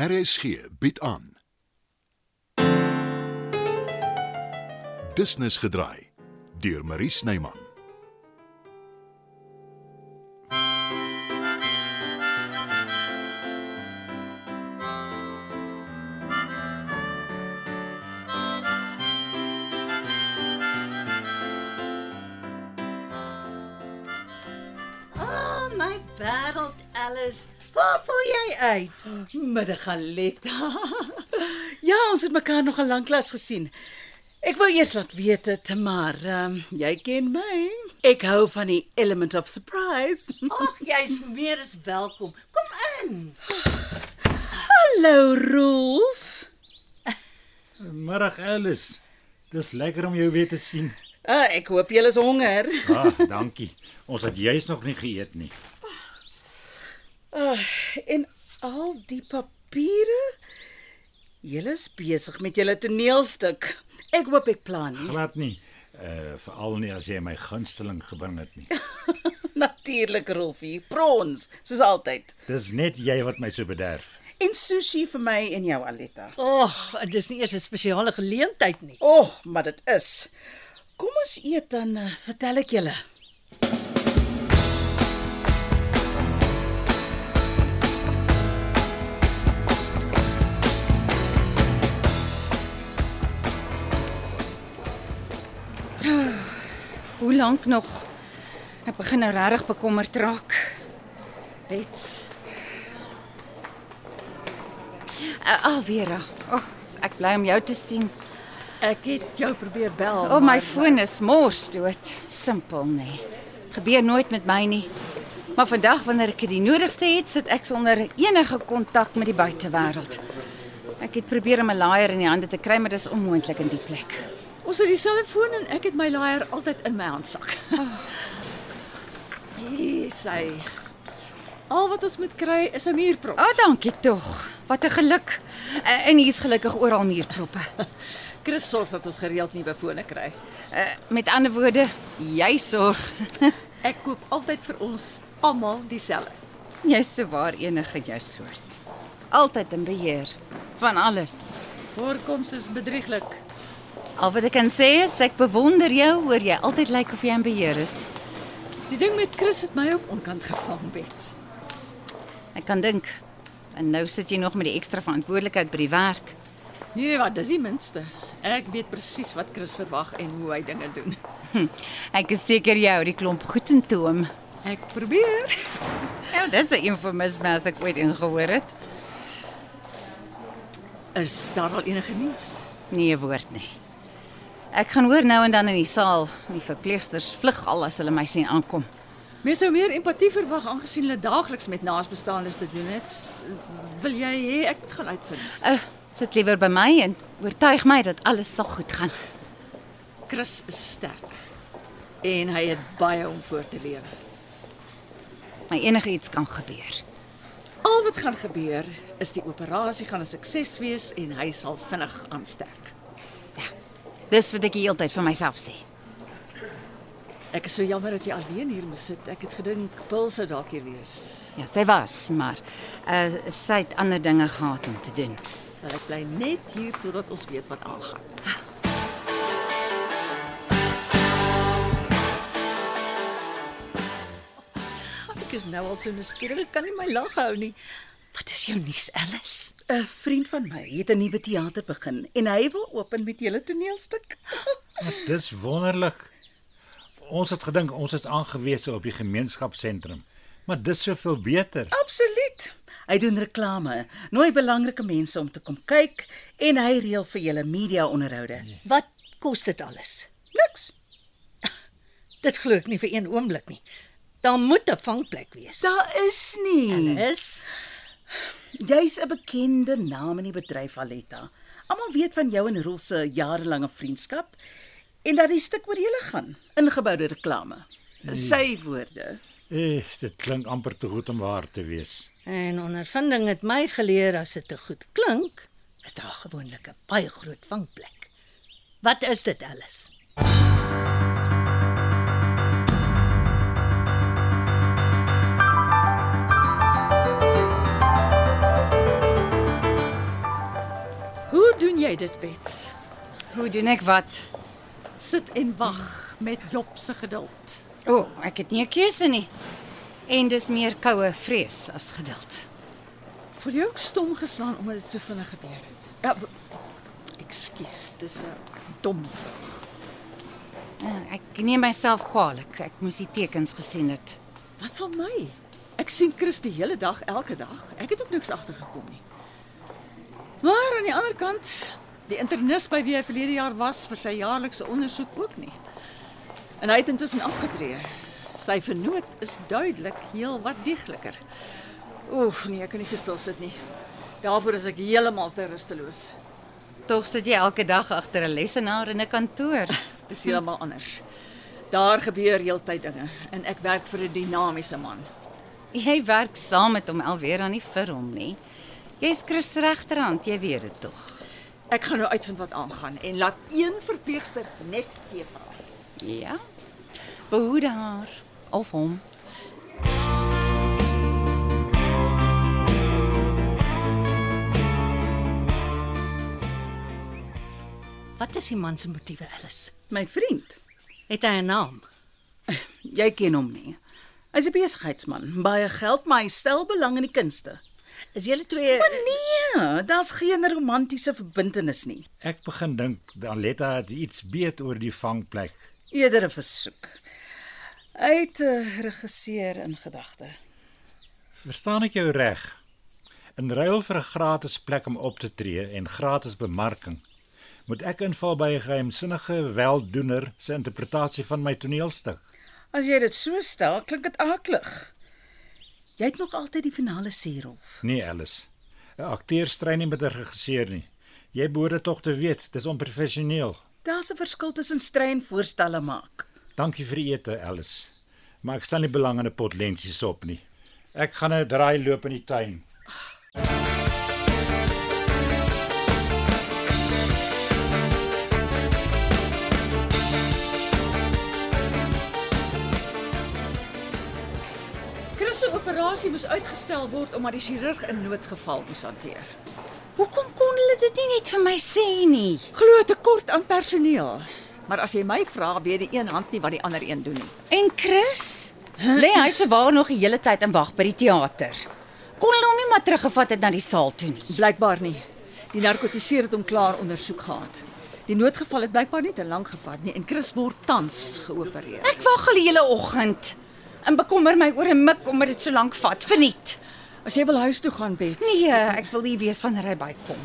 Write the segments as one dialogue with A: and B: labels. A: RSG bied aan. Business gedraai deur Marie Snyman.
B: O, oh, my wêreld, Alice. Waar voel jy uit?
C: Middag Aletta. ja, ons het mekaar nog 'n lank klas gesien. Ek wou eers laat weet het, maar ehm jy ken my. Ek hou van die element of surprise.
B: Ag, jy's meer as welkom. Kom in.
C: Hallo Rolf.
D: Middag Alice. Dis lekker om jou weer te sien.
C: Uh, ek hoop jy is honger.
D: Ah, dankie. Ons het juis nog nie geëet nie.
C: Uh, en al die papiere. Julle is besig met julle toneelstuk. Ek hoop ek plan nie.
D: Glad nie. Uh veral nie as jy my gunsteling gebring het nie.
C: Natuurlik Rolfie, prons, soos altyd.
D: Dis net jy wat my so bederf.
C: En sushi vir my en jou Aletta.
B: Ag, dis nie eers 'n spesiale geleentheid nie.
C: O, oh, maar dit is. Kom ons eet dan, eh, vertel ek julle.
E: Hoe lank nog? Ek begin nou regtig bekommerd raak.
C: Let's.
E: Ag, oh, Vera. O, oh, is ek bly om jou te sien.
B: Ek het jou probeer bel.
E: O, oh, my foon is mors dood. Simpel nê. Gebeur nooit met my nie. Maar vandag wanneer ek dit die nodigste het, sit ek sonder enige kontak met die buitewêreld. Ek het probeer om 'n laaier in die hande te kry, maar dis onmoontlik in die plek.
F: Ons het dieselfde foon en ek het my laaier altyd in my handsak. Hier sy. Al wat ons moet kry is 'n muurprop.
E: O, oh, dankie tog. Wat 'n geluk. Eh, En hier's gelukkig oral muurproppe.
F: Chris sorg dat ons gereeld nuwe fone kry.
E: Eh, Met ander woorde, jy sorg.
F: Ek koop altyd vir ons almal dieselfde.
E: Jy's te waar enige jou soort. Altyd in beheer van alles.
F: Voorkoms is bedrieglik.
E: Al wat ek kan sê is ek bewonder jou oor jy altyd lyk of jy in beheer is.
F: Die ding met Chris het my ook onkant gevang, Bets.
E: Ek kan dink. En nou sit jy nog met die ekstra verantwoordelikheid by die werk.
F: Nee, wat, dis die minste. Ek weet presies wat Chris verwag en hoe hy dinge doen.
E: Hm, Ek is seker jy hou die klomp goed in toom.
F: Ek probeer.
E: Nou, dis 'n eufemisme as ek ooit ingehoor het.
F: Is daar al enige nuus?
E: Nee 'n woord nie. Ek gaan hoor nou en dan in die saal, die verpleegsters vlug al as hulle my sien aankom.
F: Mense sou meer empatie verwag aangesien hulle daagliks met naasbestaandes te doen het. S- Wil jy hê ek moet gaan uitvind?
E: Uh, sit liewer by my en oortuig my dat alles sal goed gaan.
F: Chris is sterk en hy het baie om voor te lewe.
E: Maar enigiets kan gebeur.
F: Al wat gaan gebeur is die operasie gaan 'n sukses wees en hy sal vinnig aansterk.
E: Dis wat ek die hele tyd vir myself sê.
F: Ek is so jammer dat jy alleen hier moet sit. Ek het gedink Bill sou dalk hier wees.
E: Ja, sy was, maar uh sy het ander dinge gehad om te doen.
F: Maar ek bly net hier totdat ons weet wat aangaan.
B: Ek is nou al so nuuskierig, ek kan nie my lag hou nie. Wat is jou nuus, Alice?
C: 'n Vriend van my het 'n nuwe teater begin en hy wil open met julle toneelstuk.
D: Dis wonderlik. Ons het gedink ons is aangewese op die gemeenskapsentrum, maar dis soveel beter.
C: Absoluut. Hy doen reklame, nooi belangrike mense om te kom kyk en hy reël vir julle media onderhoude.
F: Nee.
B: Wat kos dit alles?
C: Niks.
B: Dit glo ek nie vir een oomblik nie. Daar moet 'n vangplek wees.
C: Daar is nie.
B: Is
C: Jy's 'n bekende naam in die bedryf Aletta. Almal weet van jou en Roel se jarelange vriendskap en dat die stuk oor julle gaan. Ingeboude reklame. Sy woorde.
D: Eh, dit klink amper te goed om waar te wees.
B: en ondervinding het my geleer as dit te goed klink, is daar gewoonlik 'n baie groot vangplek. Wat is dit, Alice?
F: doen jy dit, Bets?
E: Hoe doen ek wat?
F: Sit en wag met Job se geduld.
E: O, oh, ek het nie 'n keuse nie. En dis meer koue vrees as geduld.
F: Voel jy ook stom geslaan omdat dit so vinnig gebeur het? Ja. b- Ekskuus, dis 'n dom vraag.
E: Eh, Ek neem myself kwaadlik. Ek moes die tekens gesien het.
F: Wat van my? Ek sien Chris die hele dag, elke dag. Ek het ook niks agtergekom nie. Maar aan die ander kant, die internis by wie hy verlede jaar was vir sy jaarlikse ondersoek ook nie. En hy het intussen afgetree. Sy vernoot is duidelik heel wat diegliker. Oef, nee, ek kan nie so stil sit nie. Daarvoor is ek heeltemal te rusteloos.
E: Tog sit jy elke dag agter 'n lesenaar in 'n kantoor.
F: Dis heeltemal anders. Daar gebeur heeltyd dinge en ek werk vir 'n dinamiese man.
E: Jy werk saam met hom alweer aan nie vir hom nie. Jy's Chris regterhand, jy weet dit tog.
F: Ek gaan nou uitvind wat aangaan en laat een verpleegster net teepel.
E: Ja. Behoede haar of hom.
B: Wat is die man se motiewe, Alice?
C: My vriend,
B: Het hy 'n naam?
C: jy ken hom nie. Hy's 'n besigheidsman, baie geld, maar hy stel belang in die kunste.
B: Is julle twee
C: Nee, daar's geen romantiese verbintenis nie.
D: Ek begin dink Danetta het iets weet oor die vangplek.
C: Eerder 'n versoek. Hy het uh, regisseur in gedagte.
D: Verstaan ek jou reg? In ruil vir 'n gratis plek om op te tree en gratis bemarking, moet ek inval by 'n geheimsinnige weldoener se interpretasie van my toneelstuk.
C: As jy dit so stel, klink dit aklig. Jy het nog altyd die finale sê, Rolf.
D: Nee, Alice. 'n Akteur strei nie met 'n regisseur nie. Jy behoort dit tog te weet, dis onprofessioneel.
C: Daar's 'n verskil tussen strei en voorstelle maak.
D: Dankie vir die ete, Alice. Maar ek stel nie belang in 'n pot lensies op nie. Ek gaan 'n draai loop in die tuin.
F: Chris se operasie moes uitgestel word omdat die chirurg 'n noodgeval moes hanteer.
E: Hoekom kon hulle dit nie net vir my sê nie?
F: Glo tekort aan personeel. Maar as jy my vra, weet die een hand nie wat die ander een doen nie.
E: En Chris? Lê hy se waar nog die hele tyd en wag by die teater. Kon hulle hom nie maar teruggevat het na die saal toe nie.
F: Blykbaar nie. Die narkotiseer het hom klaar ondersoek gehad. Die noodgeval het blykbaar nie te lank gevat nie en Chris word tans geopereer.
E: Ek wag al die hele oggend en bekommer my oor 'n mik omdat dit so lank vat. Verniet.
F: As jy wil huis toe gaan, Bets.
E: Nee, ek wil nie weet wanneer hy bykom.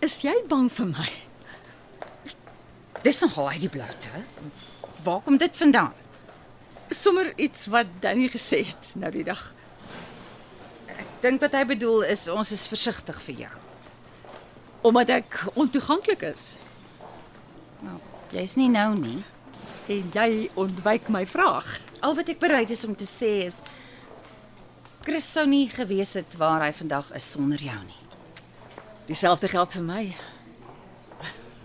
F: Is jy bang vir my?
E: Dis nogal uit die bloute. Waar kom dit vandaan?
F: Sommer iets wat Danny gesê het nou die dag.
E: Dink wat hy bedoel is ons is versigtig vir jou.
F: Omdat ek ontoeganklik is
E: Nou, jy's nie nou nie.
F: en jy ontwyk my vraag.
E: Al wat ek bereid is om te sê is Chris sou nie gewees het waar hy vandag is sonder jou nie.
F: Dieselfde geld vir my.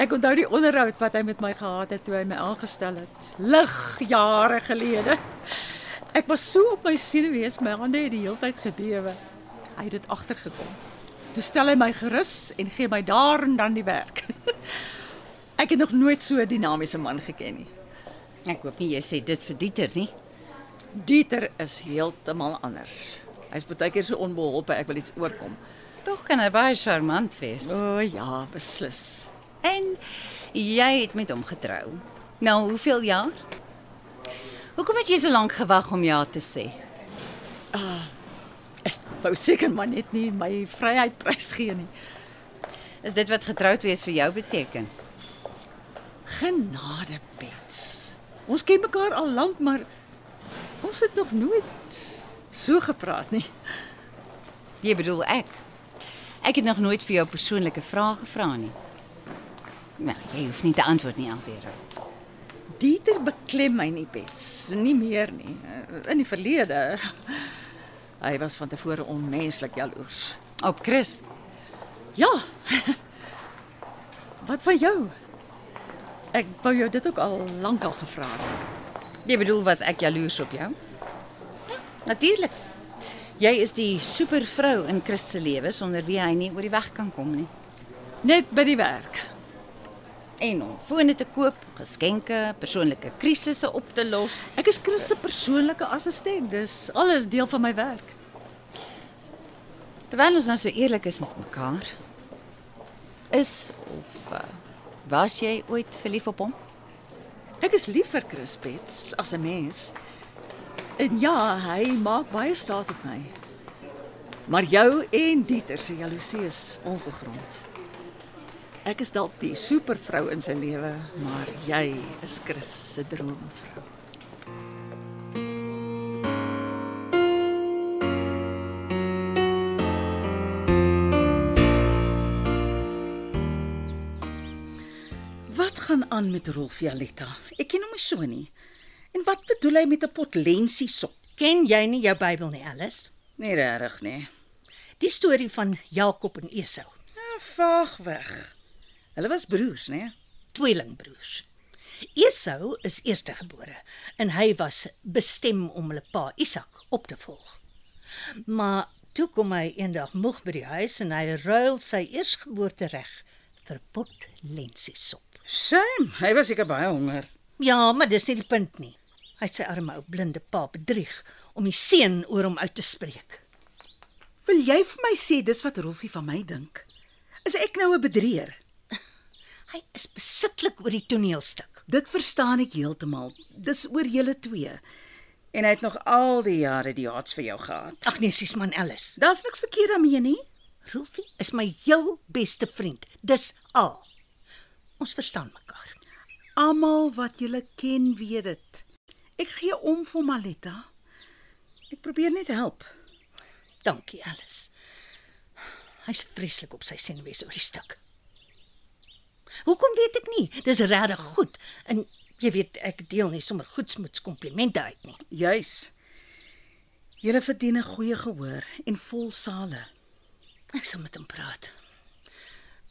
F: Ek onthou die onderhoud wat hy met my gehad het toe hy my aangestel het. Lig jare gelede. Ek was so op my senuwees, my hande het die hele tyd gebewe. Hy het dit agtergekom. Toe stel hy my gerus en gee my daar en dan die werk. Ek het nog nooit so 'n dinamiese man geken nie.
E: Ek hoop nie jy sê dit vir Dieter nie.
F: Dieter is heeltemal anders. Hy's baie keer so onbeholpe, ek wil iets oorkom.
E: Tog kan hy baie charmant wees.
F: O oh, ja, beslis.
E: En jy het met hom getrou. Nou hoeveel jaar? Hoekom het jy so lank gewag om ja te sê?
F: Wou seker maar net nie my vryheid prys gee nie.
E: Is dit wat getroud wees vir jou beteken?
F: Genade, Bets. Ons ken mekaar al lank, maar ons het nog nooit so gepraat nie.
E: Jy bedoel ek. Ek het nog nooit vir jou persoonlike vrae gevra nie. Nou, jy hoef nie te antwoord nie alweer.
F: Dieter beklem my nie, Bets. Nie meer nie. In die verlede hy was van tevore onmenslik jaloers.
E: Op Chris.
F: Ja. Wat van jou? Ek wou jou dit ook al lank al gevra het.
E: Jy bedoel was ek jaloers op jou? Ja, natuurlik. Jy is die supervrou in Christus se lewe sonder wie hy nie oor die weg kan kom nie.
F: Net by die werk.
E: En om fone te koop, geskenke, persoonlike krisisse op te los.
F: Ek is Chris se persoonlike assistent, dis alles deel van my werk.
E: Terwyl ons nou so eerlik is met mekaar, is of uh, was jy ooit verlief op hom?
F: Ek is lief vir Chris Bets as 'n mens. En ja, hy maak baie staat op my. Maar jou en Dieter se jaloesie is ongegrond. Ek is dalk die supervrou in sy lewe, maar jy is Chris se droomvrou.
C: Wat gaan aan met Rolf Violetta? Ek ken hom nie so nie. En wat bedoel hy met 'n pot lensie sop?
B: Ken jy nie jou Bybel nie, Alice?
C: Nee, regtig nie.
B: Die storie van Jakob en Esau,
C: Ja, vaag weg. Hulle was broers, né?
B: tweelingbroers. Esau is eerstegebore en hy was bestem om hulle pa Isak op te volg. Maar toe kom hy eendag moeg by die huis en hy ruil sy eersgeboortereg vir pot lensiesop.
C: Shame, hy was seker baie honger.
B: Ja, maar dis nie die punt nie. Hy het sy arme ou blinde pa bedrieg om die seën oor hom uit te spreek.
C: Wil jy vir my sê dis wat Rolfie van my dink? Is ek nou 'n bedrieër?
B: Hy is besitlik oor die toneelstuk.
C: Dit verstaan ek heeltemal. Dis oor julle twee. En hy het nog al die jare die haats vir jou gehad.
B: Ag nee, sies man Alice.
C: Daar's niks verkeerd daarmee nie.
B: Rolfie is my heel beste vriend. Dis al. Ons verstaan mekaar.
C: Almal wat julle ken, weet dit. Ek gee om vir Maletta. Ek probeer net help.
B: Dankie, Alice. Hy's vreeslik op sy senuwees oor die stuk. Hoekom weet ek nie? Dis regtig goed. En jy weet, ek deel nie sommer goedsmoeds komplimente uit nie.
C: Juis. Julle verdien 'n goeie gehoor en vol sale.
B: Ek sal met hom praat.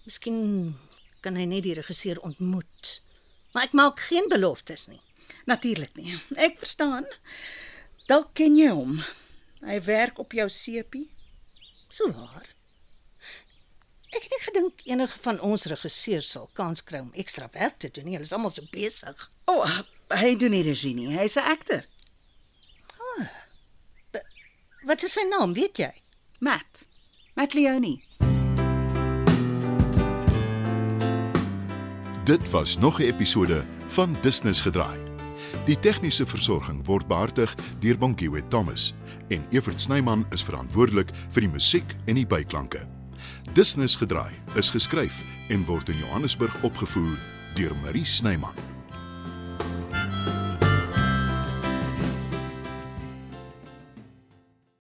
B: Miskien kan hy net die regisseur ontmoet. Maar ek maak geen beloftes nie.
C: Natuurlik nie. Ek verstaan. Dalk ken jy hom. Hy werk op jou seepie.
B: So waar. Ek het nie gedink enige van ons regisseurs sal kans kry om ekstra werk te doen nie. Hulle is almal so besig.
C: O, oh, hy doen nie regie nie. Hy's 'n akter.
B: Wat is sy naam, weet jy?
C: Matt. Matt Leonie.
A: Dit was nog 'n episode van Business gedraai. Die tegniese versorging word behartig deur Bonnie Witt Thomas en Evert Snyman is verantwoordelik vir die musiek en die byklanke. Business gedraai is geskryf en word in Johannesburg opgevoer deur Marie Snyman.